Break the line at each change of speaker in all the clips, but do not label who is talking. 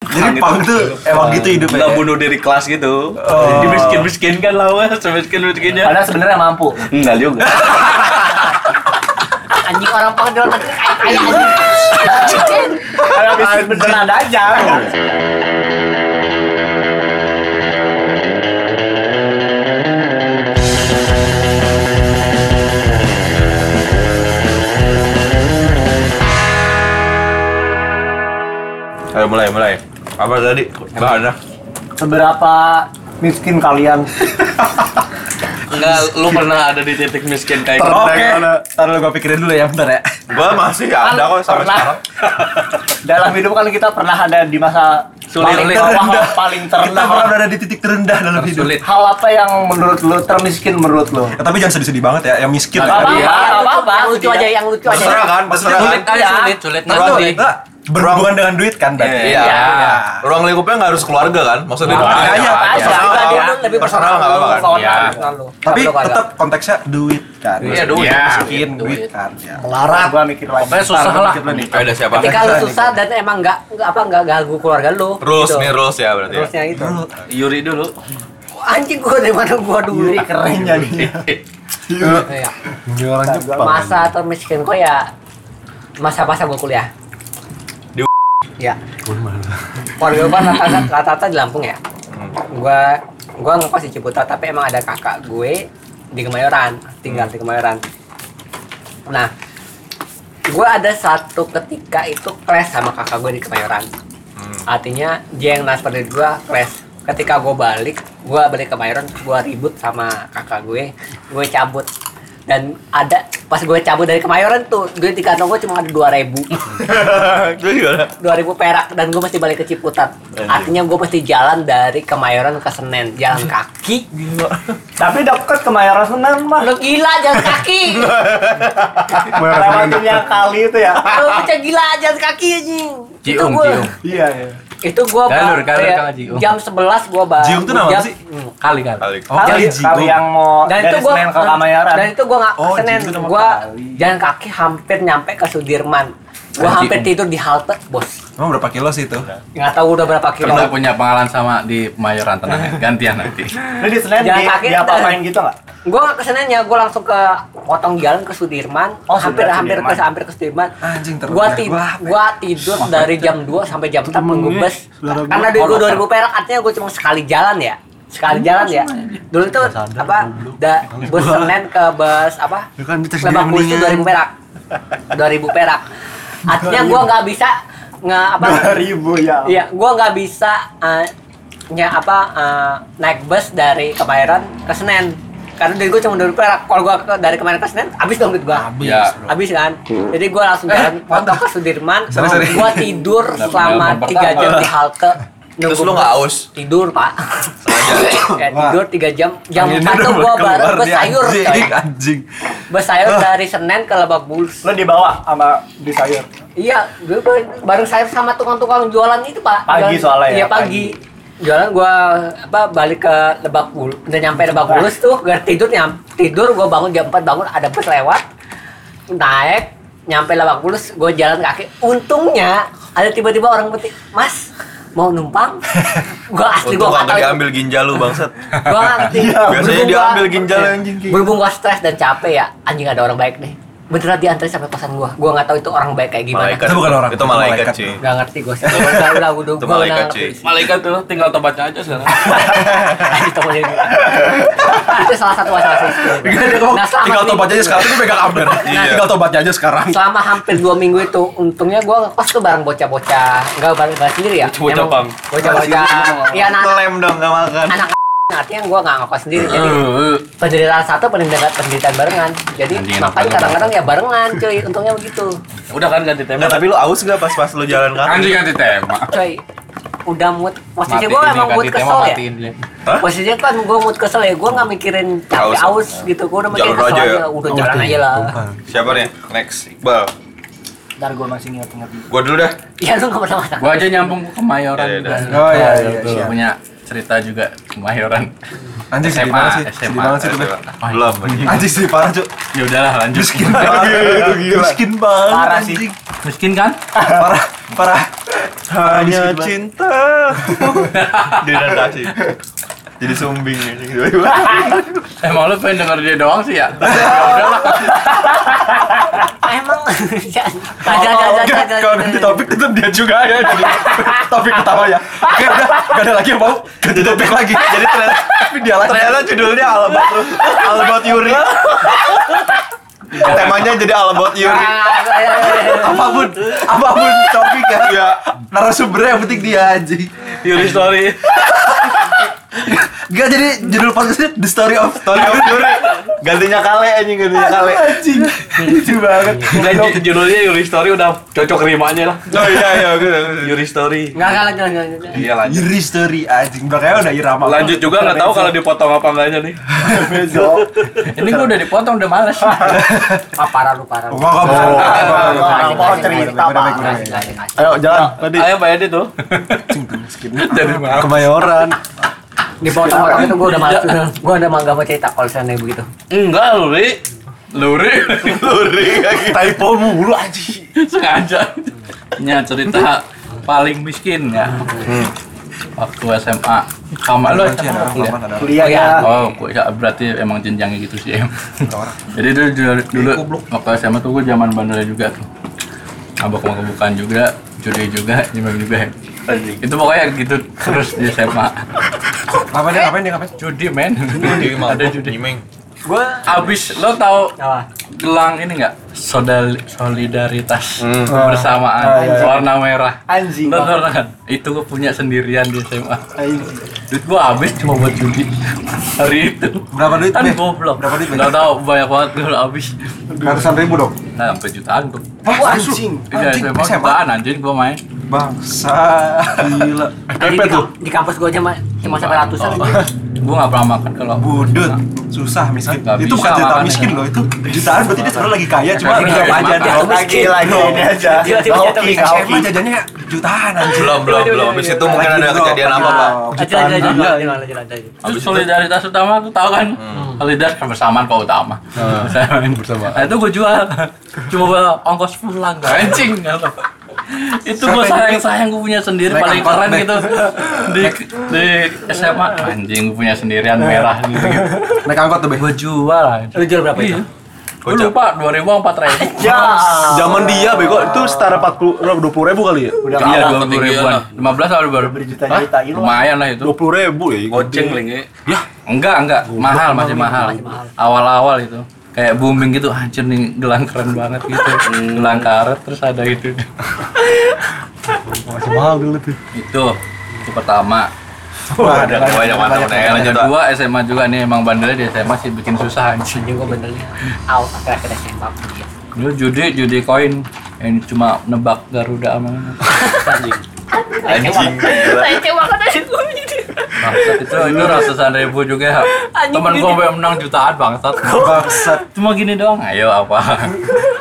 Jadi
belakang
pang tuh emang gitu hidupnya.
Nggak bunuh diri kelas gitu
Oh.
Dimiskin-miskin kan lawan Semiskin-miskinnya
Padahal sebenarnya mampu.
Enggak juga
Anjing orang pengen di luar negeri kaya kaya anjing. Kalau miskin beneran aja.
Ayo mulai mulai. Apa tadi? Bahannya.
Seberapa miskin kalian?
Enggak, lu pernah ada di titik miskin kayak gitu
Oke.
Karena-
Ntar lu gua pikirin dulu ya bentar ya.
Gua masih ada kok sampai
pernah.
sekarang.
Dalam hidup kan kita pernah ada di masa
Sulit.
paling
Terendah.
terendah, paling
Kita
terendah.
pernah berada di titik terendah dalam hidup.
Sulit
Hal apa yang menurut lu termiskin menurut lu?
Ya, tapi jangan sedih-sedih banget ya, yang miskin.
Gak
ya.
Iya.
apa-apa, gak apa-apa.
Yang lucu aja, yang lucu aja.
Iya. Terserah kan, terserah kan.
Sulit aja, sulit, sulit
Terus
nanti.
enggak berhubungan dengan duit kan berarti.
Iya. Ruang lingkupnya nggak harus keluarga kan?
Nah,
Maksudnya doang.
makanya.
Personal
Aja,
nggak
pribadi
apa-apa.
lu lebih
Personal nggak apa-apa kan?
Iya.
Tapi tetap konteksnya duit kan.
Iya, duit.
Miskin,
Iya.
miskin, duit kan. Ya.
melarat. Gua mikir lagi.
Pokoknya susah
Ntar
lah
dikit lu nih.
Ayo, ada siapa?
Ketika lu susah dan emang nggak nggak apa nggak ganggu keluarga lu.
Rules
gitu.
nih rules ya berarti. ya.
Rulesnya itu.
Yuri dulu
Anjing gua dari mana gua dulu.
Yuri keren nyanyinya.
Iya.
Ini orang Jepang.
Masa termiskin gua ya masa-masa gua kuliah.
Di
Iya. Keluarga gua kan rata-rata rata-rata di Lampung ya. Gua gua ngekos di Ciputat tapi emang ada kakak gue di Kemayoran, tinggal di Kemayoran. Nah, gue ada satu ketika itu crash sama kakak gue di Kemayoran. Artinya dia yang transfer dari gue crash. Ketika gue balik, gue balik ke Kemayoran, gue ribut sama kakak gue, gue cabut. Dan ada pas gue cabut dari Kemayoran tuh duit di kantong gue cuma ada dua ribu,
Terus gimana?
dua ribu perak dan gue mesti balik ke Ciputat.
Iya.
Artinya gue mesti jalan dari Kemayoran ke Senen,
Iya.
jalan kaki.
Tapi deket ke Mayora Senen mah.
Lu gila jalan kaki,
Lewatin yang kali itu ya.
lu bocah gila jalan kaki anjing. Itu
Cium,
gua-
cium.
Iya, iya.
itu gua
Galur,
ba-
galur,
kayak
Kang Haji. Oh.
jam 11 gua hmm. bang
Jiung tuh nama apa sih?
Kali kan
Kali.
Oh,
kali
kali jigo.
yang mau
dan itu
Oh, dari
gua
Senen ke gitu Kamayaran.
dan itu gua nggak
Oh,
Senin
Jiung tuh nama
gua
kali.
jalan kaki hampir nyampe ke Sudirman gua
Kang
hampir
Jiung.
tidur di halte bos
Emang berapa kilo sih itu?
Nah,
nggak tahu udah berapa kilo
Kita punya pengalaman sama di Mayoran tenang ya Gantian nanti
Lu di Senen
Jangan
di,
kaget,
di apa-apain gitu nggak?
gua nggak ke Senin ya gua langsung ke potong jalan ke Sudirman
Oh,
hampir
sudah,
hampir ke
Sudirman.
hampir ke Sudirman
Anjing, terus
gua,
ya,
ti-
gua apa ya?
gua tidur dari jam 2 sampai jam 4 nunggu bus
saudara
karena
gua. Iya,
dari gua 2000 perak artinya gua cuma sekali jalan ya sekali jalan ya dulu tuh apa da, bus Senen ke bus apa
Ya kan, kita
Lebak
sendiri
Bulus tuh
mendingan.
2000 perak 2000 perak artinya gua nggak bisa nge apa
2000 ya.
Iya, gua nggak bisa eh, nya apa eh, naik bus dari Kemayoran ke Senen. Karena dari gua cuma dari Perak. Kalau gua ke- dari Kemayoran ke Senen, habis dong duit gua. Habis.
Ya
kan. Jadi gua langsung jalan foto ke Sudirman.
Sorry, sorry.
Gua tidur
Kenapa
selama
nggak
3 jam di halte.
Terus
Nunggu
lu nggak
bus.
aus?
Tidur, Pak. ya, tidur 3 jam. Jam
Anginnya
4 tuh
udah
gua
keluar
baru
nih,
bersayur. coy.
Anjing, anjing.
Bersayur dari Senen ke Lebak Bulus.
Lu dibawa sama di sayur.
Iya, gue bareng- bareng saya sama tukang-tukang jualan itu pak.
Pagi
Jualan-
soalnya ya,
Iya pagi. Jualan gua apa balik ke Lebak Bulus, udah nyampe Lebak
Nah.
Bulus tuh, gue tidur nyam, tidur gua bangun jam 4 bangun ada bus lewat, naik nyampe Lebak Bulus gua jalan kaki. Untungnya ada tiba-tiba orang peti, Mas mau numpang? gua asli
Untung kagak
gua kata
diambil ginjal lu bangsat.
gua nggak ngerti.
Biasanya
Berhubung gua- Iya.
diambil ginjal anjing.
Berhubung gua stres dan capek ya, anjing ada orang baik nih. Beneran diantar sampai kosan gua. Gua nggak tahu itu orang baik kayak gimana.
Malaikat.
Itu bukan orang,
Itu
itu
malaikat
malaikat.
cuy.
Gak ngerti gue sih. Udah udah udah
Itu
gue udah
malaikat,
ngerti.
Malaikat tuh tinggal tobatnya aja sekarang
Ayo, temenin gua. Itu salah satu masalah sistem. Nah selama
Tinggal tobatnya aja
minggu-
sekarang, itu pegang amber.
Iya.
Tinggal tobatnya aja sekarang.
Selama hampir dua minggu itu, untungnya gue ngekos tuh bareng bocah-bocah. Gak bareng bareng sendiri ya.
Bocah-bocah,
Emang
Bang.
Bocah-bocah. Iya anak
Ngelem dong gak makan.
anak artinya gue gak ngekos sendiri. Jadi
Hmm.
penderitaan satu penderitaan penderitaan barengan. Jadi
Anjing, enak
makanya
banget.
kadang-kadang ya barengan cuy. Untungnya begitu.
Udah kan ganti tema
Enggak, tapi lu aus gak pas pas lu jalan kaki?
Anjing ganti tema
Cuy, udah mood. Posisi
Matiin
gue
nih,
emang mood
ganti tema
kesel ya.
matiin dia.
Hah?
Posisinya kan gue mood kesel ya, gue gak mikirin capek
Aus.
aus gitu, gue udah mikirin
Jalan
kesel
aja
aja,
ya?
udah jalan aja lah.
Siapa nih? Next Iqbal.
Ntar gue masih ingat-ingat.
Gua dulu dah.
Iya lu nggak pernah masak.
Gua aja nyambung ke Kemayoran
Iya,
juga.
iya. Oh, iya, iya,
Gua
iya.
punya cerita juga Kemayoran.
Anjing sedih
SMA,
banget sih. Sedih
SMA.
banget sih. Tube.
Belum lagi.
Anjing sedih parah cuk.
Ya udahlah lanjut.
Miskin banget. Miskin banget.
Parah sih.
anjing.
Miskin kan?
Parah. Parah.
Hanya
Miskin banget.
Ya, cinta. Diradasi. Jadi sumbing gitu.
Emang lu pengen denger dia doang sih ya? Ya udahlah.
Ah, emang aja aja aja aja, aja.
Kalau ganti topik tetap dia juga ya. Jadi topik utama ya. Oke udah. Gak ada lagi yang mau ganti topik lagi. Jadi ternyata tapi dia lagi.
Ah, Ternyata judulnya All About, All About Yuri. Temanya jadi All About Yuri.
Ah, ayo, ayo, ayo.
Apapun, apapun topik ya. Narasumbernya yang penting dia anjing.
Yuri story.
Gak jadi judul podcastnya The Story of
Story of Yuri. Gantinya Kale anjing gantinya Kale.
Anjing. Lucu banget.
Enggak ju- judulnya Yuri story udah cocok rimanya lah.
Oh iya iya oke. oke.
Yuri story.
Nggak nggak nggak nggak, nggak.
Iya lanjut.
Yuri Story anjing. Belakangnya udah irama.
Lanjut juga nggak tahu kalau dipotong apa enggaknya nih.
Bezo.
Ini gua udah dipotong udah males.
Ah parah lu parah. lu.
Gua enggak mau.
Orang mau cerita, Pak.
Kasih, kasih, kasih.
Ayo jalan. Tadi
Ayo bayar itu. Jadi maaf.
Kemayoran.
Dipotong-potong itu gue udah males. Gue udah mah nggak mau cerita kalau misalnya begitu.
Enggak, Luri. Luri.
Yuri.
Typo mulu anjing.
Sengaja. Ini cerita paling miskin ya.
Hmm.
Waktu SMA. Kamu lu SMA apa kuliah?
Kuliah ya.
Oh, kuliah berarti emang jenjangnya gitu sih. em. Jadi dulu, dulu, dulu waktu SMA tuh gue zaman bandelnya juga tuh. Abang mabuk juga, judi juga, nyimem juga. Itu pokoknya gitu terus di SMA.
Apa dia ngapain dia ngapain?
Judi men. Judi Ada judi.
Gue
Abis lo tau
apa?
gelang ini nggak Sodal solidaritas
Hmm.
kebersamaan
Ah, iya, iya.
warna merah
Anjing.
lo tau kan itu gue punya sendirian di SMA
Anjing.
duit gue habis cuma buat judi hari itu
Berapa duit?
kan
Beh?
goblok
Berapa duit? Beh?
nggak tahu banyak banget gue habis
Ratusan ribu dong.
nah, sampai jutaan tuh
Wah,
anjing.
Iya,
Anjing,
SMA
SMA.
jutaan anjing gue main
Bangsa. Gila.
Di, di, kam- di kampus gue aja mah cuma sampai ratusan.
gue nggak pernah makan kalau Nah,
Budut. Susah miskin.
Nggak
Itu
bisa
bukan juta
makannya.
miskin loh, itu jutaan berarti dia sebenarnya lagi kaya cuma
Nggak
nggak
bisa
aja
makan.
dia.
Lagi lagi ini aja.
Tiba-tiba
Hoki,
jatuh miskin.
hoki.
Emang jajannya jutaan anjing.
Belum belum belum. Habis itu mungkin ada kejadian apa pak?
Ah, Lanjut lanjut lanjut lanjut lanjut lanjut.
itu solidaritas utama tuh tau kan solidaritas kebersamaan kok utama
Ah.
kebersamaan
Bersamaan.
nah, itu gue jual cuma buat ongkos pulang gak anjing nggak apa. itu gue
Siapa yang
sayang sayang gue punya sendiri
Naik
paling
angkot,
keren
naik.
gitu di di SMA anjing gue punya sendirian merah gitu, gitu.
Naik angkot tuh, Beh.
gue jual anjing
Lu jual berapa itu?
gue lupa dua ribu empat ribu
Ya.
Zaman dia bego itu setara 40 20 ribu kali ya?
Udah
iya dua
kalah.
puluh ribuan lima belas atau dua ribu
Berjuta-juta hilang.
lumayan lah itu
20 ribu ya?
Goceng lingi. Ya, enggak enggak, mahal masih mahal. Awal-awal itu kayak booming gitu, hancur nih gelang keren banget gitu. gelang karet terus ada itu.
Masih mahal dulu tuh.
itu itu pertama.
Wah,
Ada banyak mana
Nah, yang kedua SMA juga nih emang bandelnya di SMA sih bikin susah anjing.
Anjing gue benernya out akhir-akhir Iya. SMA.
Dulu judi judi koin yang cuma nebak Garuda sama ini.
Anjing.
Saya cewek kan dari dulu ini.
Bangsat, itu itu ratusan ribu juga. ya. Temen gua sampai menang jutaan bangsat.
Bangsat.
Cuma gini doang. Ayo apa?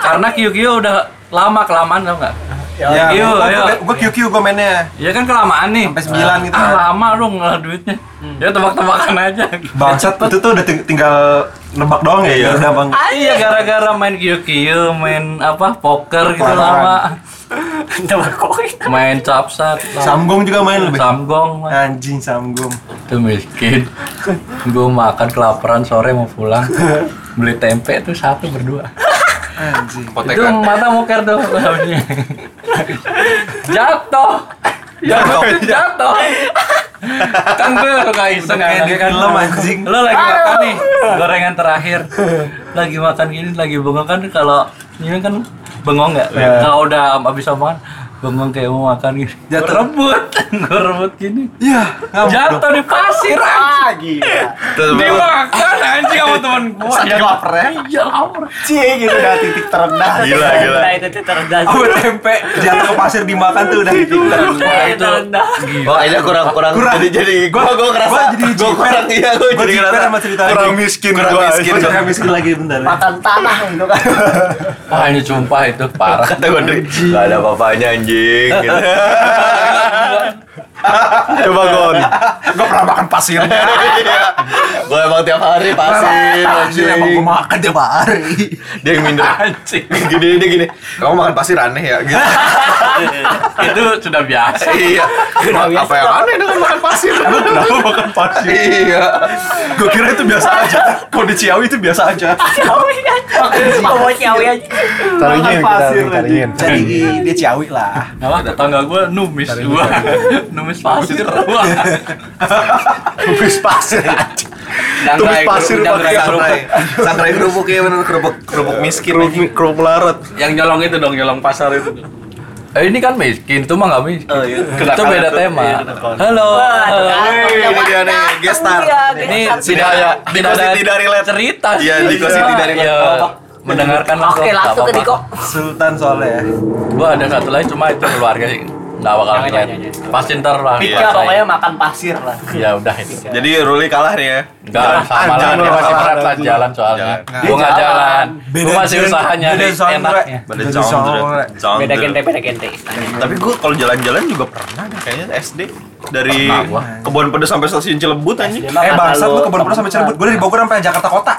Karena kiu-kiu udah lama kelamaan tau nggak?
Ya,
Iya,
gua-
iya.
gua- gua QQ gua mainnya.
Ya kan kelamaan nih.
Sampai sembilan gitu
Ah,
kan.
lama lu ngelah duitnya. Ya tebak-tebakan aja.
Bangsat itu tuh udah ting- tinggal nebak doang ya, ya udah bang.
Iya gara-gara main kiyo-kiyo, main apa poker gitu
Kelamaan.
lama. main capsat, lama.
Samgong juga main lebih. Eh.
samgong. Mas.
Anjing samgong.
Itu miskin. Gue makan kelaparan sore mau pulang. Beli tempe tuh satu berdua.
Anjing.
Itu
kan?
Potekan.
mata muker tuh lawannya. Jatuh. Ya jatuh. jatuh. kan gue suka iseng
Kayak di
kan.
film anjing.
Lo lagi makan nih, gorengan terakhir. Lagi makan gini, lagi bengong kan kalau ini kan bengong nggak? Kalau udah habis makan, bengong kayak mau makan gini.
Jatuh.
Gua rebut, gue rebut gini.
Iya, ngamuk dong.
Jatuh di pasir,
Ah, gila.
Terus
dimakan. anjing sama temen gua.
Saking lapar ya.
Iya, lapar.
Cie gitu udah titik terendah.
Gila, gila.
Nah, itu tuh terendah.
Aku tempe jatuh ke pasir dimakan tuh udah hilang.
ya,
Itu terendah.
Wah, Oh, ini kurang kurang.
Kurang.
Jadi jadi gua gua ngerasa
gua jadi
gua
jiper.
kurang iya gua
Gua
jadi
jiper
ngerasa
sama cerita
kurang
ini.
miskin
Kurang
gua.
miskin.
Gua-
Kurang miskin lagi bentar. ya.
makan tanah gitu kan
Wah, ini sumpah itu parah.
Kata gua Dri, nggak ada apa-apanya anjing. gitu.
Coba Gon.
Gua pernah makan pasirnya.
Iya. Gua emang tiap hari
Pasir
pasir
emang
anjing.
gua makan tiap hari.
Dia yang minder.
Anjing.
Gini dia gini. Kamu makan pasir aneh ya gitu.
itu sudah biasa.
Iya. Apa yang aneh dengan makan pasir?
Kenapa makan pasir?
Iya.
Gua kira itu biasa aja. Kalau di Ciawi itu biasa aja.
Mau nyawi aja.
Taringin kita
pasir,
taringin.
Jadi dia Ciawi lah.
Malah tetangga gue numis gua. numis pasir. Wah.
Tubis pasir. Tumis
Dangrai
pasir
kerupuk-
pakai
dangrai kerupuk. Sangrai kerupuk ya bener kerupuk kerupuk miskin. anjing.
Kerupuk kerupuk larat.
Yang nyolong itu dong, nyolong pasar itu. Eh, ini kan miskin, itu mah nggak miskin. itu Iya, beda tema. Halo. halo.
Wih, ini dia nih, guest star.
Iya,
Ini
Tidak
tidak ada tidak
ada- Diko
ada
Siti dari Lab.
cerita.
Iya, Diko Siti dari Lab.
Iya. Mendengarkan
oke
nggak
langsung ke
apa-apa.
Diko
Sultan soalnya ya.
Gua ada satu lain cuma itu keluarga sih. Nggak bakal
Jangan,
ngeliat.
jangan, jangan.
Pasti ntar lah.
Pika
dipaksain.
pokoknya makan pasir lah.
Ya udah itu.
Jadi Ruli kalah nih ya.
Enggak lah, sama lah.
Anjing,
Dia masih
masalah.
berat lah jalan soalnya.
Jalan.
Gua nggak jalan. Gua masih
genre,
usaha nyari
beda genre.
enaknya.
Beda
Beda
genre.
genre.
Genre.
beda gente beda gente
Tapi gua kalau jalan-jalan juga pernah deh, kayaknya SD dari
Pernah gua.
kebun pedes sampai stasiun Cilebut anjing.
Eh bangsat lu ke Borobudur sampai Cirebon. Gua dari Bogor sampai Jakarta Kota.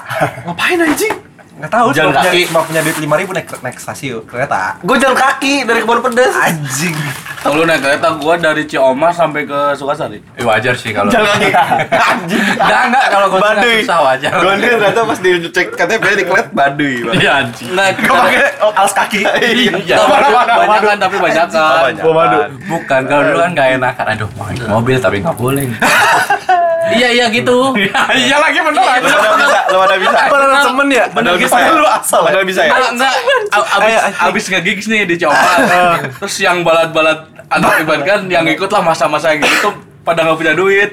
Ngapain anjing?
Enggak tahu cuma
Jalan
punya,
kaki.
cuma punya duit 5000 naik naik stasiun kereta.
Gua jalan kaki dari kebun pedes.
Anjing.
Kalau lu naik kereta gua dari Ciomas sampai ke Sukasari. Eh, wajar sih kalau.
Jalan kaki. Anjing.
Enggak enggak kalau gua
Baduy.
susah wajar.
Gondel ternyata pas dicek KTP diklet baduy. Bang.
Iya anjing.
Nah, gua pakai alas kaki. Iya.
Iya. Banyak kan tapi banyak kan.
Banyak.
Gua madu.
Bukan kalau dulu kan gak enak kan. Aduh, mau naik mobil tapi nggak boleh. Iya iya gitu. Iya lagi beneran.
Lu pada
kan?
bisa, lu pada bisa.
Padahal temen ya.
Padahal
Iya.
bisa. ya?
Lu asal ya.
Padahal bisa ya.
Enggak, enggak. A- Abis, abis nge-gigs nih di Ciomas. Terus yang balat-balat anak iban kan yang ikut lah masa-masa yang gitu pada nggak punya duit.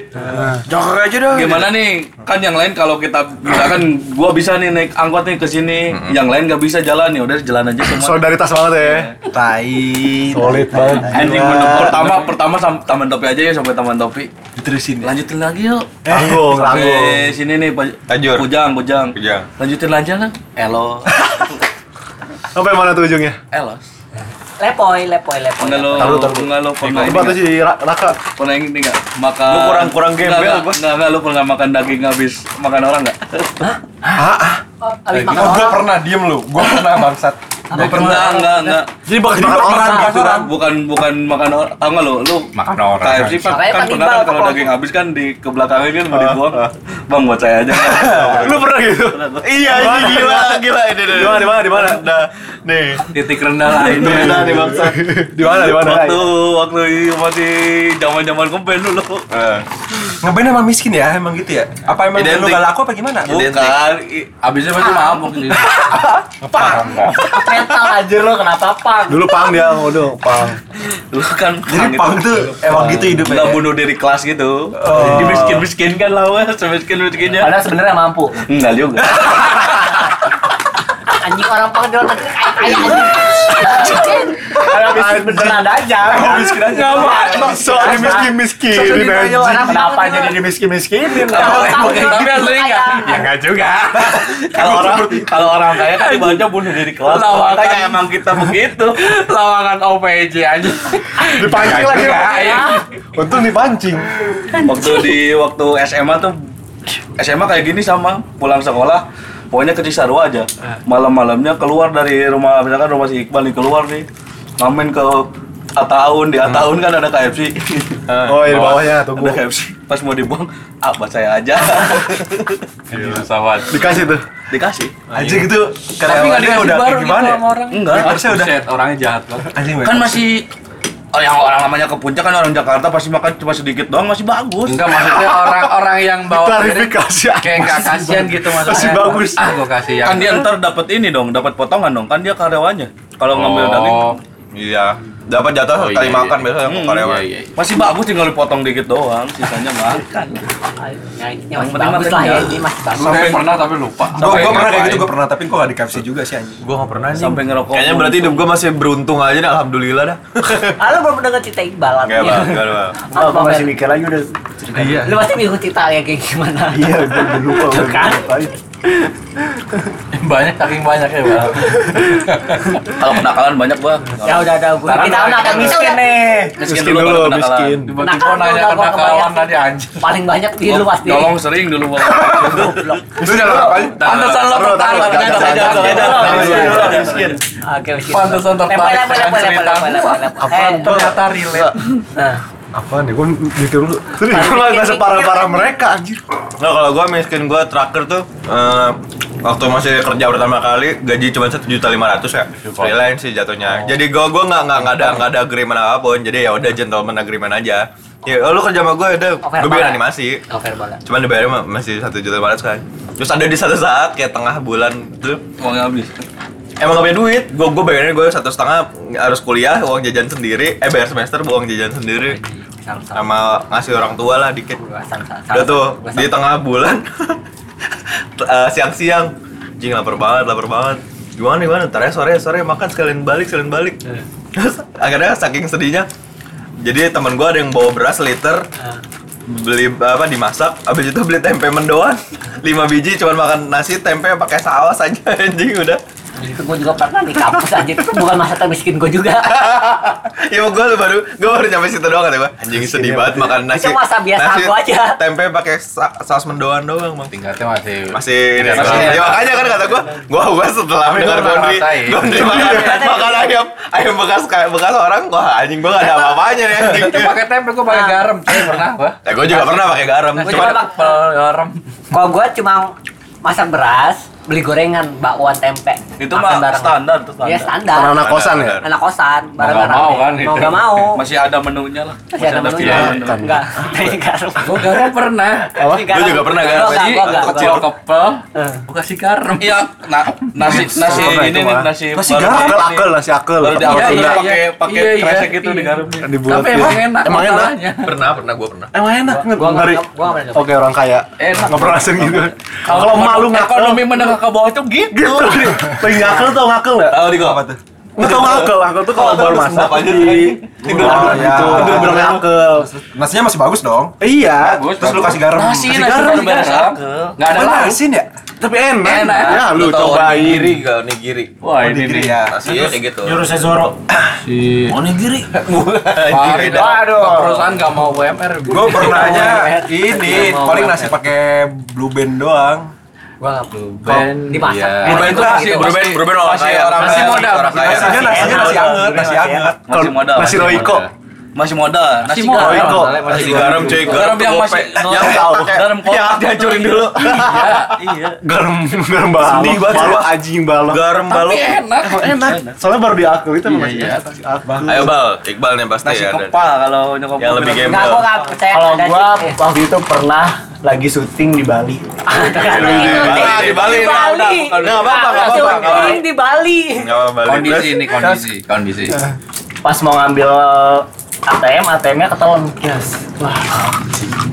Jongkok aja dong.
Gimana nih? Kan yang lain kalau kita misalkan gua bisa nih naik angkot nih ke sini, yang lain nggak bisa jalan ya udah jalan aja semua.
Solidaritas banget ya.
Tai.
Solid banget.
Anjing bener. pertama pertama sam- taman topi aja ya sampai taman topi.
Diterusin ya.
Lanjutin lagi yuk.
Tanggung, tanggung.
Sampai sini nih Pak-
Tanjur.
Pujang, Pujang.
Pujang.
Lanjutin aja lah. Elo.
Sampai mana tuh ujungnya?
Elos.
lepoy lepoy lepoy
Enggak lo,
Taruh, taruh.
enggak lo pernah ini
Coba tuh
nggak?
si Ra- Raka.
pernah ini enggak makan
Lu kurang-kurang
Enggak,
gembel,
enggak,
bos.
enggak enggak lo pernah makan daging habis makan orang enggak
Oh, abis makan
Oh, gua
orang
pernah diem lu. Gua pernah bangsat. Gua
enggak enggak enggak
Jadi bakal
Jadi
makan
bakal
orang.
makan orang.
bukan bukan makan orang tau enggak lo lo
Makan orang.
KFC pak kan
Makanya kan
pernah
Iqbal
kan kalau
kelompok.
daging habis kan di ke belakangnya kan mau dibuang bang buat saya aja
Lu pernah gitu?
Iya, anjing, gila, gila ini.
Di mana, di mana, di mana?
Nah, nih.
titik rendah lah ini
Nah, nih bangsa.
Di mana, di mana?
waktu waktu masih zaman zaman kempen dulu
Eh,
Ngeband emang miskin ya, emang gitu ya? Apa emang
Identik.
lu gak laku apa gimana?
Identik.
bukan i- abisnya pasti mabuk ini
Metal aja lo kenapa pang?
Dulu pang dia ngodo, pang.
lu kan
Jadi pang tuh emang gitu hidupnya.
nggak
ya?
bunuh diri kelas gitu
Oh.
di miskin miskin kan lawan semiskin ya. miskinnya
Padahal sebenarnya mampu.
enggak juga
anjing orang pang di luar negeri kaya kaya anjing
Padahal miskin beneran aja.
miskin aja.
So, di miskin-miskinin aja.
Kenapa jadi di miskin-miskinin?
Kalau
Kalau
emang
tahu
tapi
dia
asli enggak?
kaya.
Ya enggak juga. Kalau orang kalau orang kaya kan ibaratnya bunuh diri kelas. Lawakan emang kita begitu. Lawakan OPJ aja.
Dipancing lagi.
Enggak, ya.
Untung dipancing.
Waktu di waktu SMA tuh SMA kayak gini sama pulang sekolah pokoknya ke Cisarua aja
Ah.
malam-malamnya keluar dari rumah misalkan rumah si Iqbal nih keluar nih ngamen ke Ataun
Ah.
di Ataun kan ada KFC
Oh, iya, di bawahnya, tunggu.
ada KFC pas mau dibuang ah buat saya aja
Dikasih tuh.
dikasih
Anjing gitu.
tapi nggak
karyawannya
dikasih
udah
baru
kayak gimana ya?
gitu sama orang enggak
Ya, harusnya udah.
Buset, orangnya jahat banget
Anjing
kan masih oh, yang orang namanya ke puncak kan orang Jakarta pasti makan cuma sedikit doang masih bagus
Enggak maksudnya orang-orang yang bawa piring
Klarifikasi.
kayak nggak kasihan gitu maksudnya.
Masih bagus.
Ah, gua kasih yang.
kan dia ntar dapat ini dong dapat potongan dong kan dia karyawannya kalau ngambil daging
Iya. Dapat jatah
Oh, iya,
kali
iya,
makan
iya.
biasanya sama
Hmm,
karyawan.
iya, iya, iya.
Masih bagus tinggal dipotong dikit doang, sisanya makan.
Kan. Nah, Ini
Yang
masih
penting
bagus
makan
lah ya,
jauh.
ini masih bagus.
Gue pernah tapi lupa.
Gue
Sampai
pernah kayak
ngapain?
gitu, gue pernah, tapi gue gak di KFC juga sih anjing.
Gua gak pernah anjing.
Sampai ngerokok.
Kayaknya berarti hidup gua masih beruntung aja dah, alhamdulillah dah. Iya.
Ah, lu belum dengar cerita Iqbal
Enggak,
artinya.
Bang. Enggak, Bang.
Apa,
Aku masih
Bel?
mikir lagi udah cerita. Iya.
Lu pasti bingung cerita ya kayak gimana.
Iya, udah udah lupa udah
Kan?
ngapain.
Banyak saking banyak ya bang.
Kalau penakalan banyak bang.
Ya udah ada gue.
Sekarang
Kita
udah-
udah ada miskin nih. Nah,
Miskin dulu, kalau penakalan.
Tiba-tiba
Nakal
nanya
gua, gua
kenakalan
kebayang.
tadi
ya.
anjir.
Paling banyak di lu pasti.
Nyolong sering dulu bang.
Itu dalam apa?
Pantesan lo tertarik ternyata aja.
miskin.
Oke, miskin.
Pantesan tertarik
Lempel, lempel,
dengan
lempel,
cerita
lempel,
gua.
lempel, lempel.
Apaan
Eh,
ternyata relate.
nah.
Apaan ya? Gue mikir dulu. Serius,
Mikir,
gue
mikir,
nggak separah-parah
mikir.
mereka anjir.
Nah, kalau gua miskin gua terakhir tuh eh, waktu masih kerja pertama kali gaji cuma satu juta lima ratus ya
Iya,
freelance sih
Oh.
jatuhnya. Jadi gua gua nggak nggak nggak ada nggak ada agreement apapun. Jadi ya udah gentleman agreement aja. Ya oh, lu kerja sama gua udah
Over
gua bikin
banget.
animasi.
Oh, fair banget.
Cuman dibayar ma- masih satu juta lima ratus kan. Terus ada di satu saat kayak tengah bulan tuh
Uangnya habis.
emang gak punya duit. Gua gua bayarnya gua satu setengah harus kuliah uang jajan sendiri. Eh bayar semester uang jajan sendiri
Sama-sama.
sama ngasih orang tua lah dikit.
Gua sama-sama.
Udah tuh
Gua
di tengah bulan t- eh, siang-siang jing lapar banget lapar banget gimana gimana ntar ya sore sore makan sekalian balik sekalian balik
Eh,
Terus akhirnya saking sedihnya jadi teman gua ada yang bawa beras liter beli apa dimasak abis itu beli tempe mendoan 5 biji cuman makan nasi tempe pakai saus aja anjing udah
Itu gue eh, juga pernah di kampus aja. Itu bukan masa termiskin gue juga.
ya gua baru gua baru nyampe situ doang kata gua anjing sedih banget makan nasi
Itu masa biasa
nasi,
aku aja.
tempe pakai sa- saus mendoan doang bang
Tingkatnya masih
masih ini
Masih
masih
ada.
ya makanya kan kata gua gua gua setelah
Tapi
dengar
gua pernah
Gondri
ngerasain.
Gondri
Iya,
makan makan ayam ayam bekas kayak bekas orang wah anjing gua gak ada apa-apanya nih anjing
Itu pakai tempe gua
ya,
pakai garam. Saya pernah gua.
ya gua juga pernah pakai garam
Gua
cuman
juga pakai-
Pel garam.
Kalau gue cuma masak beras, beli gorengan, bakwan tempe.
Itu
Makan
mah
bareng.
standar tuh
Iya
standar.
standar.
anak kosan ya?
Anak kosan, bareng
nggak mau kan
Mau
itu.
gak mau.
Masih ada menunya lah.
Masih ada menunya.
pilihan
Makan.
Enggak. Tapi garam.
Gua garam pernah.
Apa?
Gua juga pernah garam.
Gua
Jadi
enggak, gua enggak.
kecil kepel.
Eh.
Gua kasih garam.
Iya, na nasi nasi
Apa
ini
itu,
nih
Bang?
nasi
Masih
baru-
garam. Akel, akel, nasi akel.
Baru di awal
Iya, Iya,
udah
iya,
pakai
iya.
pakai
Iya, iya.
kresek gitu
Iya.
di garamnya.
Dibuat
Tapi emang enak
Emang enak.
masalahnya.
pernah pernah gua pernah
Emang enak nggak
Gua
Bang Hari?
enggak. Gua enggak.
Oke orang kaya.
Enak.
Nggak pernah sering gitu. Kalau emak lu ngakel.
ekonomi menengah ke bawah itu gitu.
Gitu. Lagi ngakel tau ngakel nggak?
tahu di gua apa tuh
Lu tau ngakel? Ngakel tuh kalau baru masak di tidur
Oh, iya.
gitu. Tidur
Tidur
ngakel.
Nasinya masih bagus dong.
Iya.
Bagus,
Terus lu
bagus.
kasih garam.
Nasi
Kasih
nasi
garam,
baru beres
garam.
akel.
Nggak ada
Mana
lauk.
asin ya?
Tapi enak.
Enak.
Ya lu
tahu
cobain.
onigiri gak onigiri
Wah, ini
Onigiri
nih.
ya.
nasinya kayak gitu
Jurusnya Zoro.
Si
onigiri
Parah,
onigiri dah.
Waduh. Perusahaan nggak mau UMR.
Gue pernahnya ini paling nasi pakai blue band doang.
Gua enggak.
Ruben.
Dimasak.
Ruben itu
Enggak,
masih
itu
Ruben.
beruben beruben orang
Masih
kaya
kaya.
orang
orang
Nasinya
kaya
Nasi
nasinya
enak.
nasi anget, nasi anget.
Masih modal.
Nasi Royco.
Masih modal. Nasi
Masih
modal.
modal. Ya,
Royco.
masih garam cuy garam
Garam yang
tuh
masih-
gope. yang
Garam
pakai
Garam
yang
kotak.
dihancurin dulu
Iya.
Garam garam balok.
Sedih banget.
Balok anjing balok.
garam balok
Enak.
Enak. Soalnya baru di akel itu emang masih
iya.
enak. Nasi akel.
ayo bal iqbal nih pasti
Nasi
ya ada.
kepal kalau nyokap
yang
gua
Iya, lebih
Enggak,
bilang.
gua
gembel
enggak percaya
Kalau
ada
gua
sih.
waktu itu pernah lagi syuting di Bali.
Nah,
Di
di Bali. Nah, udah,
Bali.
bukan. Nggak apa-apa, nggak apa-apa, nggak apa-apa.
Syuting di Bali.
Nggak apa-apa, Bali.
Kondisi
Terus,
ini kondisi kondisi.
Pas mau ngambil eh, ATM, ATM-nya ketelan. Yes. Wah.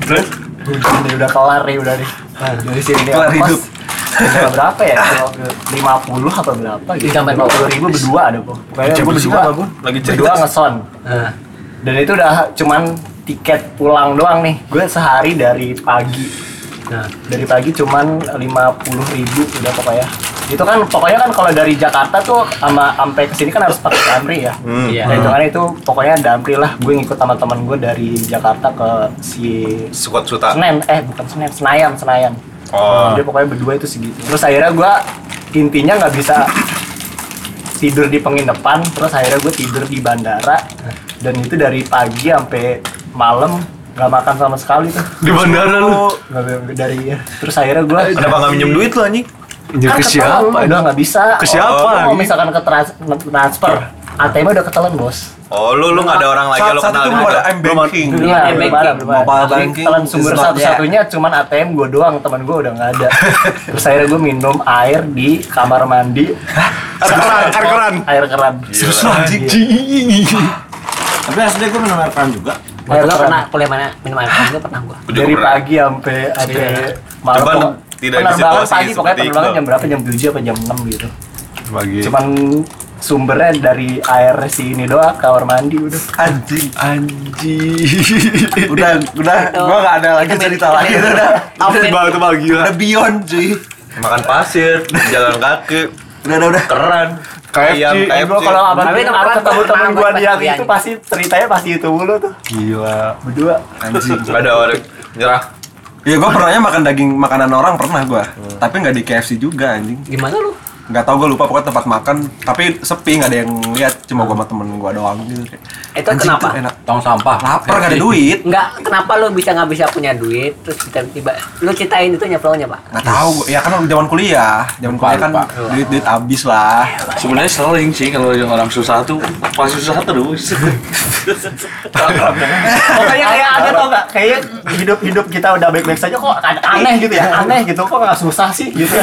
Terus? Udah, udah kelar nih, udah nih. Nah, dari sini dia
Kelar
ongkos.
hidup.
Udah berapa ya? Lima puluh apa berapa? Gitu.
Iya, sampai
Lima puluh ribu berdua ada kok. Kayaknya gue berdua,
Lagi cerita.
berdua ngeson.
Nah,
Dan itu udah cuman tiket pulang doang nih. Gue sehari dari pagi.
Nah,
Dari pagi cuman lima puluh ribu udah pokoknya. Itu kan pokoknya kan kalau dari Jakarta tuh sama sampai ke sini kan harus pakai Camry ya.
Hmm.
iya.
Nah, itu kan itu pokoknya Damri lah gue ngikut sama teman gue dari Jakarta ke si
Squad Suta.
Senen eh bukan Senen Senayan Senayan
Oh.
dia pokoknya berdua itu segitu terus akhirnya gue intinya nggak bisa tidur di penginapan terus akhirnya gue tidur di bandara dan itu dari pagi sampai malam nggak makan sama sekali tuh
Di bandara lu.
nggak dari ya terus akhirnya gue
Kenapa nggak minjem duit lu anjing?
kan ke siapa udah nggak bisa
Ke siapa
Kalau
lagi? Iya.
misalkan ke trans- transfer ATM udah ketelan bos
Oh, lu lu nggak ada orang lagi
Saat
lu
saat
kenal
itu belum
gitu.
ada M banking.
Belum ada, belum
Iya, banking.
ada, belum ada.
Mobile
Jadi
banking
Telan
is
sumber
not
satu-satunya cuman ATM gue doang, teman gue udah nggak ada. Terus akhirnya gue minum air di kamar mandi.
Air keran, air keran.
air keran
Terus
Iya,
anjing.
Tapi SD gue minum air keran juga.
Waktu lo pernah kuliah mana minum air keras itu pernah gua.
Udah
dari
keran.
pagi sampai sampai malam
Coba
Pokok-
tidak di
penerbangan
situasi
pagi pokoknya
seperti
penerbangan
Iqbal.
jam berapa jam 7 apa jam 6 gitu
Bagi.
cuman sumbernya dari air si ini doang kamar mandi udah
Anjing, anjing. Udah, udah, gua gak ada lagi cerita lagi. Udah,
Apa banget tuh gila.
udah beyond cuy.
Makan pasir, jalan kaki,
Udah, udah, udah.
keran.
KFC,
ayam,
Eh, gua
KFC.
kalau abang
Tapi itu
aku
pernah
ketemu
pernah
temen gua
gua
dia
pasti
itu pasti ceritanya pasti itu mulu tuh
Gila.
berdua
Anjing.
Nggak ada orang nyerah.
Iya, gua pernahnya makan daging makanan orang pernah gua. Tapi nggak di KFC juga anjing.
Gimana lu?
Nggak tau gua lupa pokoknya tempat makan, tapi sepi nggak ada yang lihat, cuma gua sama temen gua doang gitu. Kayak,
Itu
anjing,
kenapa?
tuh Enak.
Tong sampah.
Lapar nggak ada duit.
Enggak, kenapa lu bisa nggak bisa punya duit terus tiba-tiba lu ceritain itu nyeplongnya, Pak?
Nggak tahu, gua. ya kan zaman kuliah, zaman kuliah kan
Lupa.
duit duit habis lah.
Sebenarnya sering sih kalau orang susah tuh pas susah terus.
Iya,
pokoknya kayak ada tau gak kayak hidup hidup kita udah baik baik saja kok ada aneh
Iya,
gitu ya aneh gitu kok nggak susah sih gitu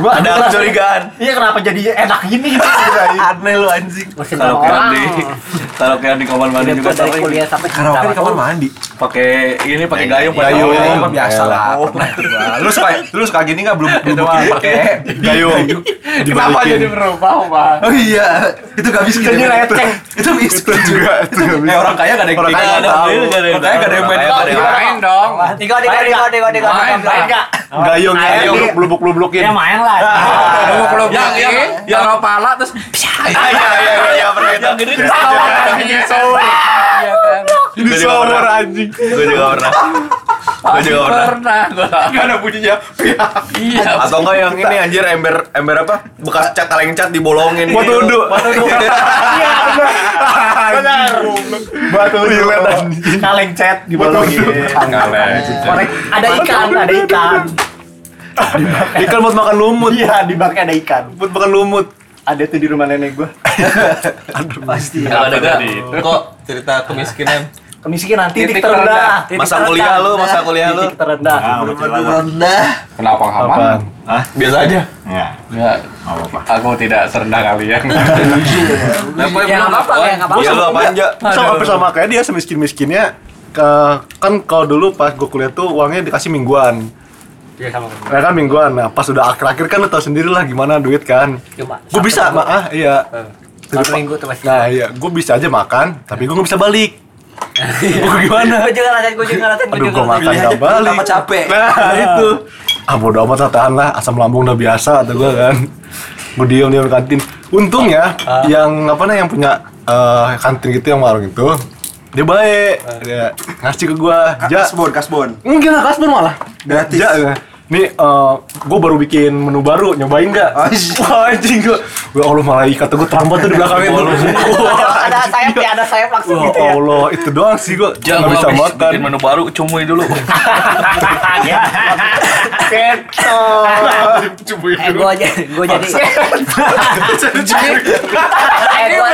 gua
Ada
gua-
kecurigaan.
iya kenapa jadi enak gini gitu
Aneh lu anjing.
Mesti sama
Kalau kalian
orang.
di kalau kalian di kamar mandi
Hidup
juga
gua dari
sering
kuliah sampai Iya,
Karaoke di kamar
mana?
mandi. iya,
pakai ini pakai gayung pakai
Gayung,
gayung.
gayung biasa lah. Pernah gua. iya. Lu suka lu suka gini enggak belum belum gini pakai
Gayung.
kenapa jadi berubah pak
Oh iya, itu gak miskin.
Jadi
ya.
receh.
Itu miskin
Itu
juga.
juga itu nggak
Eh
bisa.
orang kaya gak ada yang
Orang kaya
tinggal.
nggak
tahu.
Orang kaya gak ada yang main.
Orang kaya nggak ada yang
Main dong.
Tiga, tiga, tiga, tiga, tiga,
Main,
tiga.
main.
enggak
Gayung,
Air
gayung,
di-
blubuk-blubukin.
ya main lah
Nah, Lu kalau yang
Yang- yang- yang-
taruh pala terus psah.
Ah, Iya, iya, iya, iya, pernah itu.
Yang gede tuh
Iya,
Iya kan.
Ini
Gua juga
seumur
pernah.
anjing.
Gue juga pernah. Gue juga pernah.
Pernah gua.
Gak ada bunyinya.
Iya.
Atau enggak yang ini anjir ember ember apa? Bekas cat kaleng cat dibolongin
Buat
gitu.
duduk.
iya benar
Batu relate anjing.
kaleng chat dibolongin
Korek. Ada ikan,
ada ikan
Ikan buat makan lumut.
iya di bangke ada ikan
Buat makan lumut.
ada tuh di rumah nenek gua pasti
Kalau ada gak?
Kok cerita kemiskinan?
kemiskinan titik
Titik
terendah
terendah.
Masa kuliah lu, masa kuliah lu.
titik terendah
Nah.
Rendah.
Kenapa hama?
Biasa aja.
Ya, Aku tidak serendah kalian. Iya, Kenapa
Ya nggak apa-apa, ya nggak
Iya
apa-apa.
lu apa aja?
Sama hampir sama kayak dia semiskin miskinnya. kan kalau dulu pas gue kuliah tuh uangnya dikasih mingguan.
Iya sama.
Nah kan mingguan, nah pas udah akhir-akhir kan lo tau sendiri lah gimana duit kan
Cuma
Gue
satu
bisa,
minggu.
ma- ah iya
Satu minggu tuh pasti.
Nah iya, gue bisa aja makan, tapi gue gak bisa balik Gue gimana?
Gue juga ngerasain, gue juga ngerasain, gue
Iya,
Aduh
juga
gue makan
ngerasain.
gak balik
Tambah capek.
Nah itu Ah bodo amat lah, tahan lah, asam lambung udah biasa atau gue kan Gue diem-diem di kantin Untung ya,
Ah.
yang apa nih, yang punya eh, kantin gitu, yang warung itu Dia baik, dia ngasih ke gue Ja,
Kasbon, kasbon.
Enggak, enggak kasbon malah.
Gratis.
Ja, enggak. Nih, eh gue baru bikin menu baru, nyobain nggak?
Anjing.
Wah, anjing gue. Ya Allah, malaikat tuh gue terambat tuh di belakang itu.
Ada ada sayap ya, ada sayap langsung
Wah,
gitu ya.
Allah, itu doang sih gue.
Jangan
Nggak bisa makan.
Bikin menu baru, cumui dulu.
Eh gue aja, gue jadi. Eh gue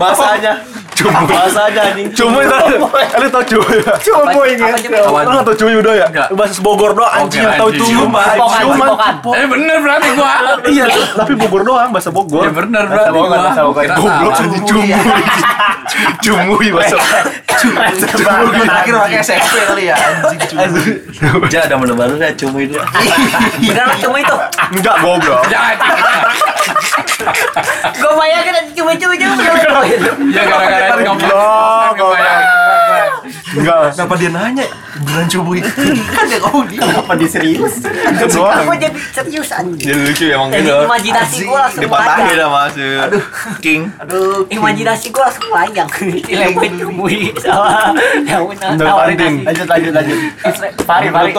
Bahasanya.
Cuma,
Bahasanya anjing.
cuma itu. Ada tau cuma. Cuma
Apa-
ingat.
apa cumi?
Lo nggak tau cuma udah ya?
Nggak.
Bahasa Bogor doang, anjing yang tau
anjing.
cuma.
Cipokan, cipokan.
Eh bener berarti gua.
Iya, tapi Bogor doang, bahasa Bogor.
Ya bener berarti
Bogor,
gua.
bahasa Bogor.
Kira
Goblok
salah.
anjing cumui. Cumui bahasa. Cumui.
Terakhir pakai SMP kali ya. Anjing cuy.
Jangan ada menu baru deh, cumui dulu.
Bener lah cuma itu.
Enggak goblok.
Jangan.
Gue bayangin aja cuma cuma cuma.
Ya gara-gara itu kamu.
Goblok.
Gua bayangin.
Enggak.
Kenapa dia nanya? Beneran cubu itu. Kan dia ngomong dia.
apa di serius
Itu doang.
Gue jadi serius anjing.
Jadi lucu emang
Jadi
gitu.
imajinasi gue langsung
Dipatahin
melayang.
sama si King.
Imajinasi gue langsung melayang. Dilempet cumui sama daun nawarin
kantin.
nasi.
lanjut lanjut lanjut pari pari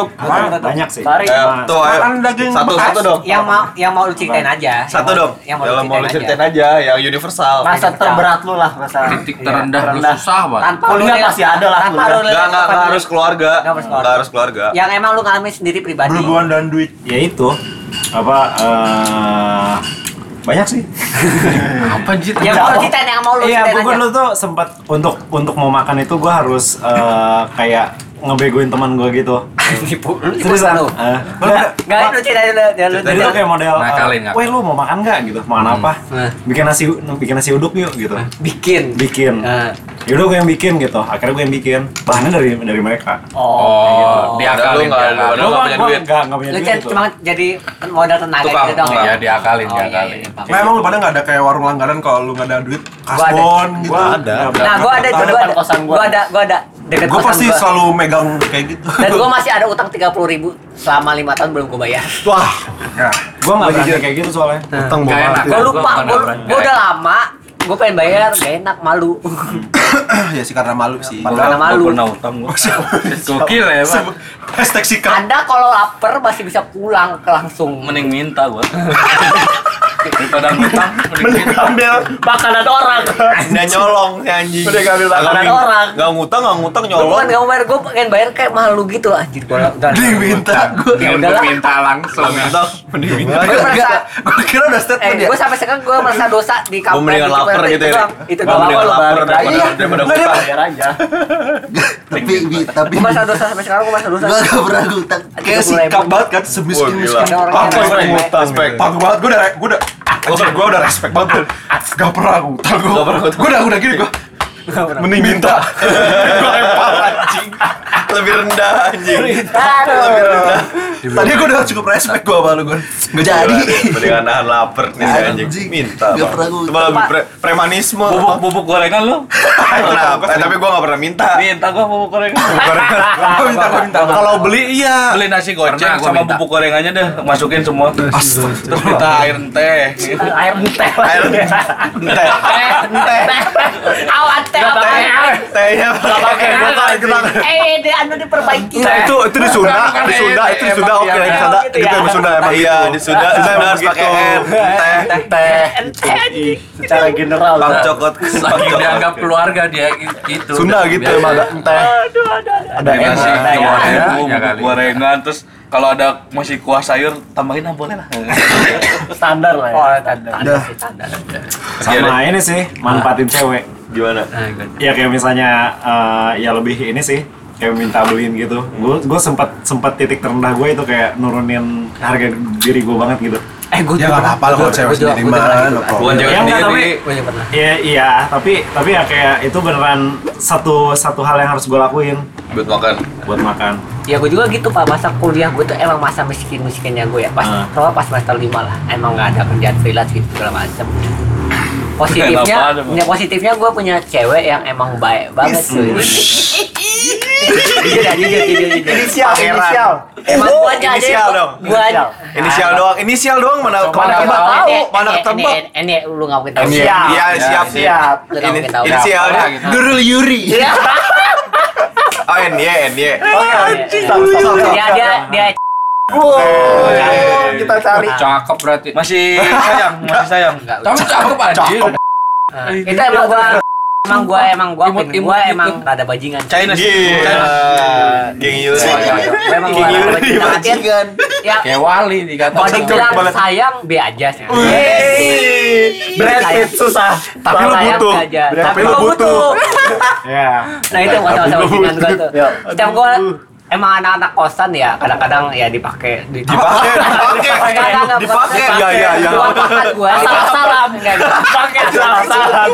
Banyak sih.
pari
Eh, tuh ayo. Satu satu dong.
Yang mau yang mau lu ceritain aja. Yang
Satu
mau-
dong.
Yang
Dalam
mau
mau
lu ceritain
ceritain
aja.
aja yang universal.
masa terberat lu lah masa
Titik
Iya,
terendah lu susah banget.
Tanpa
Kuliah
lu-
masih ada lah,
Tanpa
kuliah.
lu
Enggak enggak enggak harus keluarga.
Nggak harus keluarga. Iya.
Enggak harus keluarga.
Yang emang lu ngalamin sendiri pribadi.
Berhubungan dan duit.
Ya itu. Apa eh, banyak sih.
Apa jit?
Yang mau lu ceritain yang mau lu
Iya,
ceritain
gue
aja.
dulu tuh sempat untuk untuk mau makan itu gue harus eh, kayak
ngebegoin teman gue gitu.
Nipu.
Seriusan?
Lu.
Eh,
Nggak, nggak lu cerita dulu, ya lu
Iya.
Jadi tuh
cerita.
kayak model, eh,
Nakalin nggak?
weh lu mau makan nggak gitu? Makan
Hmm.
apa?
Nah.
Bikin nasi, bikin nasi uduk yuk gitu.
bikin.
Bikin.
Hmm.
Nah.
Yaudah gue yang bikin gitu. Akhirnya gue yang bikin. Bahannya dari dari mereka.
Iya,
Padahal
Oh, diakalin,
lu nggak-
diakalin.
padahal lu nggak punya duit.
Nggak nggak punya
Lu
duit
cer-
gitu.
cuma jadi modal tenaga
Tukang,
gitu dong
Iya,
ya.
diakalin,
Oh, iya,
diakalin.
iya, paham.
Nah, emang lu pada nggak ada kayak warung langganan kalau lu nggak ada duit
ada.
kasbon gitu.
Gua ada.
Nah, gua ada
Depan
gua ada
kosan gua.
gua ada gua ada deket
Gue
kosan
pasti
gua.
selalu megang kayak gitu.
Dan gua masih ada utang 30 ribu selama 5 tahun belum gua bayar.
Iya,
Wah,
Nah,
gue nggak berani kayak gitu soalnya.
Hmm.
Utang
Nggak
bawa
enak.
Gua lupa,
bukan
gua,
orang.
gua udah lama gua pengen bayar, gak enak, malu.
ya sih karena malu sih.
Karena malu.
Pernah utang gua.
Gokil ya, Pak.
Hashtag sikat.
Anda kalau lapar masih bisa pulang ke langsung.
Mending minta gua. Daripada ngutang, mending minta.
Ambil
Makanan orang.
Anda nyolong si anjing.
Udah ngambil makanan
Nggak-
orang.
Nggak ngutang, nggak ngutang
Gua bukan
nyolong.
gak mau bayar, gua pengen bayar kayak malu gitu lah. Anjir, gua udah.
Diminta gue.
Ya
Yang
udah lah.
minta langsung ya.
Minta, mending minta.
Gua merasa
Gue kira udah statement
Eh,
ya.
gue sampai sekarang gue merasa dosa di kampung.
Gua mendingan
gitu,
lapar
Pak.
gitu
Itu
ya.
doang. Itu
Gua
doang.
mendingan
Gua
lapar
balik
daripada
lagi.
daripada
Nggak, dia-
ngutang.
Bayar aja.
Tapi Bi, tapi
Gue merasa dosa sampai sekarang gue merasa dosa.
gue gak pernah ngutang. Kayak
Tiga puluh
sikap
ribu.
banget kan semiskin
Wah, gila.
miskin.
Ada orang
Ah,
yang
gue
respect.
ngutang. Respect. Panggung banget gue udah gue udah Anjir, gue udah respect banget Gak pernah ngutang gue Gak pernah Gue udah, udah gini gue Mending minta Gue lempar anjing
Lebih rendah anjing.
Aduh.
Tadi gue udah cukup respect gue sama lu gue Gak jadi
Mendingan nahan lapar nih si anjing.
Anjing.
Minta.
Nggak
Bang.
pernah ngutang.
Itu malah lebih pre- premanisme.
Bubuk bubuk gorengan lu.
Kenapa? Eh, Tapi gue nggak pernah minta.
Minta gua bubuk gorengan.
Gue minta, gue minta
Kalau beli iya.
Beli nasi
Pernah
goceng
gua
sama
minta.
bubuk gorengannya deh, masukin semua. Terus minta air teh.
Air mutek.
Air teh. Teh.
Awan teh apa ya?
Tehnya pakai.
Eh, dia anu diperbaiki.
Itu itu di Sunda, di Sunda, itu di Sunda oke di Sunda.
Gitu
Itu
ya.
emang Sunda emang
Iya,
gitu.
di Sunda. gitu.
Sunda
Sunda
emang
harus pakai
begitu.
air. Teh.
Teh.
Eh,
Secara general.
Bang cokot. Bang
Saking
cokot.
dianggap keluarga dia gitu.
Sunda gitu emang ada teh. Ada
Kayak nasi
emang.
ya,
goreng,
ya,
bubuk
ya kali.
gorengan, terus kalau ada masih kuah sayur tambahin ah boleh lah.
Standar lah ya.
Oh, tanda. Tanda sih, tanda.
Sama ini sih, manfaatin
Hmm.
cewek.
Gimana?
Nah,
Ya kayak misalnya eh, ya lebih ini sih kayak minta beliin gitu. Gue gue sempat sempat titik terendah gue itu kayak nurunin harga diri gue banget gitu.
Eh, gue
Ya gak apa-apa lah kalau cewek sendiri mah no problem.
Bukan cewek
Ya, enggak,
sendiri.
tapi-
Gue juga pernah.
Iya iya, tapi tapi ya kayak itu beneran satu satu hal yang harus gue lakuin
Buat makan.
buat makan.
Ya gue juga gitu pak, masa kuliah gue tuh emang masa miskin-miskinnya gue ya Pas,
Ah.
terutama pas semester 5 lah, emang gak ada kerjaan freelance gitu segala macem Positifnya,
Kenapa ada, Bang?
ya, positifnya gue punya cewek yang emang baik banget tuh Jujur ya, jujur, jujur, jujur
iya.
Inisial, inisial.
Emang gue aja
Eh, Oh, Inisial
aja
dong.
Gue aja
Inisial.
Inisial doang. Inisial doang mana kemana
Mana
kita
tahu,
tahu?
Ini-
Mana
ini-
ketebak?
ini- Ini eh, lu gak mungkin tau
Inisial.
Iya, siap
Siap.
Lu gak mungkin tau
Inisialnya
Apa gitu?
Nurul Yuri.
Iya.
Oh, N Y N Y.
Stop, stop, stop.
Iya,
Dia, dia, dia
Wow, Kita cari.
Cakep berarti.
Masih sayang, masih sayang.
Tapi cakep anjir.
Nah, itu emang gua emang gua emang gua
Imut,
pin
imut,
gua
imut.
emang rada bajingan
China sih.
Gila.
China.
Geng Yuri.
Gua emang gua
Geng
rada
Yuri
bajingan Artinya,
bajingan.
ya
Kayak wali
kalau
dikata.
dibilang sayang B aja sih
Brad Pitt susah.
Tapi lu
Sayang,
butuh.
B aja.
Tapi
tapi
lu
lu butuh
Ya.
nah itu masalah bajingan gua tuh setiap gua emang anak-anak kosan ya kadang-kadang ya dipakai di
Dipakai, dipakai.
dipakai
Ya, ya, ya.
makan gua salah salam enggak dipakai salah salam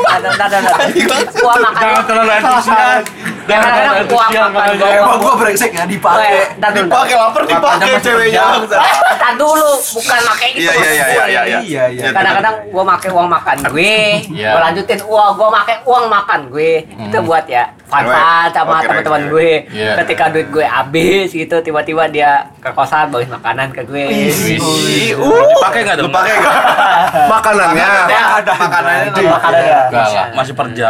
gua makan
Jangan terlalu antusias. Jangan
kadang-kadang
terlalu
gua
antusias.
makan gua
Emang gue brengsek ya
Eh,
dipakai
ntar dulu.
Dipakai lapar dipakai ceweknya.
Tar dulu, bukan gitu. pakai itu.
Iya, iya, iya, iya, iya, iya.
Iya, iya.
Kadang-kadang gua pakai uang makan gue,
Iya.
gua lanjutin uang gua pakai uang makan gue. Itu buat ya fun-fun
Cewek.
sama
Hmm. Oke,
teman-teman
oke.
gue.
Iya.
Ketika duit gue habis gitu, tiba-tiba dia ke kosan bawain makanan ke gue.
Pakai enggak Iya. dong?
Pakai enggak?
Makanannya.
Ada uh. makanannya.
Di makanan ya.
Enggak lah.
Masih perja.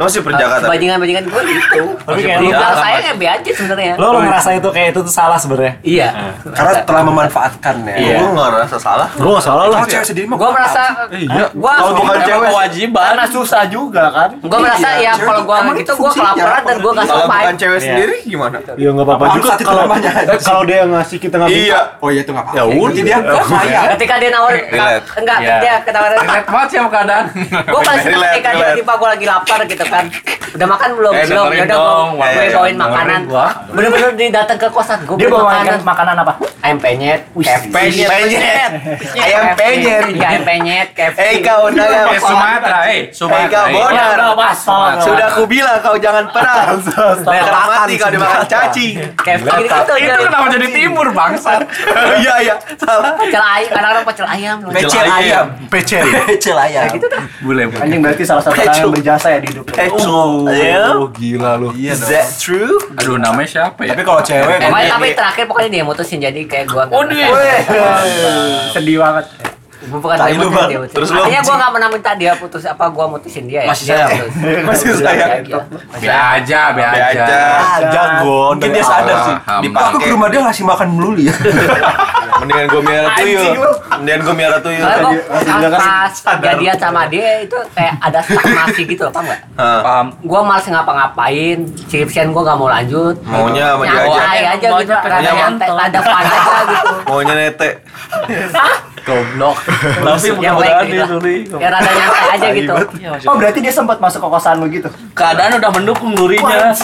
Lo masih perjaka tapi.
Iya. Bajingan-bajingan gue gitu.
Tapi kayak lu-
Dibilang saya kayak be aja sebenarnya.
Lo, lo ngerasa itu kayak itu tuh salah sebenarnya.
Iya.
Karena telah memanfaatkan ya
Iya.
Gue nggak ngerasa salah.
Gue gak salah lah.
Kalau cewek sendiri mah
Gua merasa gua
Eh, iya. Kalau bukan cewek. Iya.
Kewajiban.
Karena susah juga kan.
gua merasa ya
Cewek
kalau gua
emang
gitu gua
fungsinya
kelaparan
apa?
dan gua gak
Kalau
sopan.
bukan cewek
Iya.
sendiri gimana?
Iya
Ya,
nggak apa-apa
Apaan
juga
satu
kalau
namanya aja sih.
kalau dia yang ngasih kita nggak minta.
Iya.
Oh iya itu nggak apa-apa.
Ya udah.
Jadi dia nggak sayang.
Ketika dia nawarin
Relate.
enggak
Iya.
dia ketawaran
Relate banget sih sama keadaan.
gue paling suka
Relate,
ketika
relate.
tiba-tiba gue lagi lapar gitu kan udah makan belum
Eh,
belum
dengerin
ya udah
dong,
gua, gue
warna-
bawain
warna
makanan.
gua.
Bener-bener dia datang ke kosan gue
Dia bawa
makanan.
makanan, makanan apa?
Ayam penyet. Ayam
penyet.
Ayam penyet. Iya, Ayam penyet. KFC.
Eh kau dalam
Eh, Sumatera, eh, Sumatera,
Eh kau
eh.
Iya,
bonar.
Udah, pas, pas.
Sudah aku bilang kau jangan pernah. Bakal mati kau dimakan cacing.
KFC gitu-gitu.
Itu kenapa jadi timur bangsat?
Iya iya salah.
Pecel ayam, kadang-kadang pecel ayam loh.
Pecel ayam. Pecel. Pecel ayam.
Boleh, boleh.
Anjing berarti salah satu orang yang berjasa ya di hidup.
Eh,
lu.
Pecel. ayam.
Oh, gila lu.
Iya,
Is that true?
Aduh, namanya siapa ya?
Tapi kalau cewek
Pokoknya tapi terakhir pokoknya dia mutusin jadi kayak gua. nggak
Waduh.
merasa.
Sedih banget.
Gua bukan
Tai
dia
lu,
mutusin
Bang.
dia mutusin.
Terus lu.
Artinya gua nggak pernah minta dia putus apa gua mutusin dia ya.
Masih Iya,
Dia
sayang.
putus.
Masih
Udah,
sayang.
ya, ya.
Be aja, be
ya.
aja.
aja.
Jago.
Mungkin dia sadar sih.
Paham.
Aku ke
Dipakai.
rumah dia ngasih makan melulu ya.
Mendingan gue miara tuyul. Mendingan gue miara tuyul.
Soalnya gua
kan
pas jadian sama dia itu kayak ada stagnasi gitu apa enggak?
Hah.
Paham.
Gua males ngapa-ngapain, skripsian gua nggak mau lanjut.
Maunya sama dia aja.
Nyantai aja gitu,
Maunya
rada
sama-
nyantai, rada fun aja gitu.
Maunya nete.
Goblok.
Tapi
Yang baik gitu. Ya rada nyantai aja gitu.
Oh berarti dia sempat masuk ke kosan lu gitu?
Keadaan udah mendukung durinya.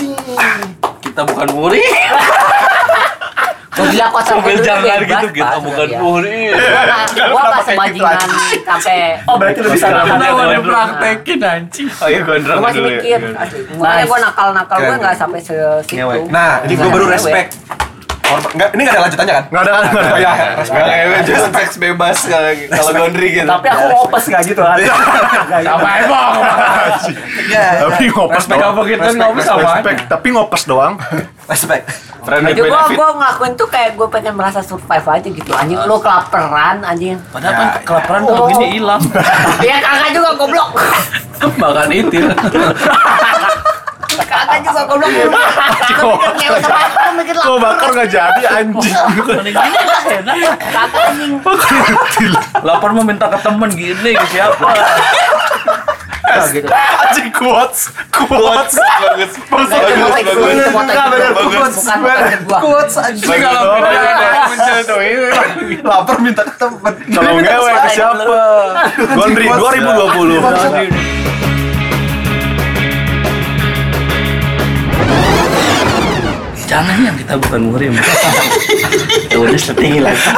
Kita bukan muri.
Gua bilang kosan gua
Mobil
dulu
jangan
bebas,
gitu kita
Pak,
bukan
sebenarnya.
muri.
Gua pas
gitu
bajingan sampai
Oh berarti lu bisa nahan
Kenapa
ya?
dipraktekin anjing?
Oh iya gondrong
Gue masih
dulu
mikir,
ya.
asli. Makanya gue nakal-nakal, gue gak sampai se-situ
Ngewe. Nah, ini gue
Nggak
baru
ngewe.
respect. Hormat- Nggak, ini gak ada lanjutannya kan?
Nggak ada kan? Nggak ada.
Oh, iya, iya, respect.
Nggak, emang just facts bebas kalau kalau gondri gitu.
Tapi aku ngopes gak gitu kan?
Sama emang.
Tapi ngopes
Respect
doang.
apa gitu? Nggak bisa
Respect, tapi ngopes doang.
Respect.
Friendly
Jadi gue
benefit.
gue ngelakuin tuh kayak gue pengen merasa survive aja gitu anjing lu kelaperan anjing
Padahal kan kelaparan tuh
Oh.
begini hilang.
ya kakak juga goblok
Bahkan itil.
kakak juga goblok lu Lu mikir ngewe sama aku, lu mikir
Gua
lah
bakar nggak jadi anjing.
kakak anjing
Lapar mau minta ke temen gini ke siapa?
Anjing quotes, quotes. Bagus, bagus,
Nggak, itu motor itu, itu motor itu.
bagus.
bukan bukan gua
Bagus.
Lapar minta ke temen.
Kalau ngewe ke siapa? Gondri 2020.
Jangan yang kita bukan murim. Tulis setinggi lagi.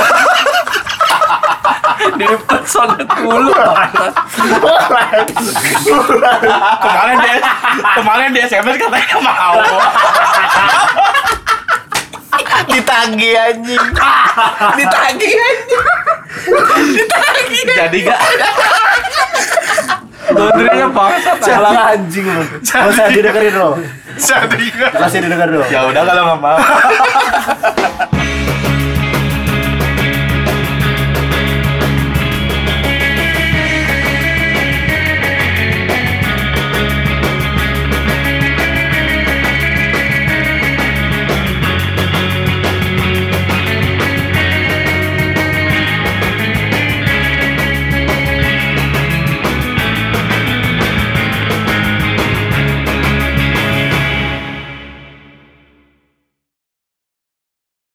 Di pesona dulu. kemarin dia kemarin dia SMS katanya mau.
Ditagih anjing. Ditagih anjing. Jadi gak
Gondrinya bangsa salah.
Salah anjing lu. Gak usah didengerin lu.
Jadi
Masih didengar dulu.
Ya udah kalau nggak mau.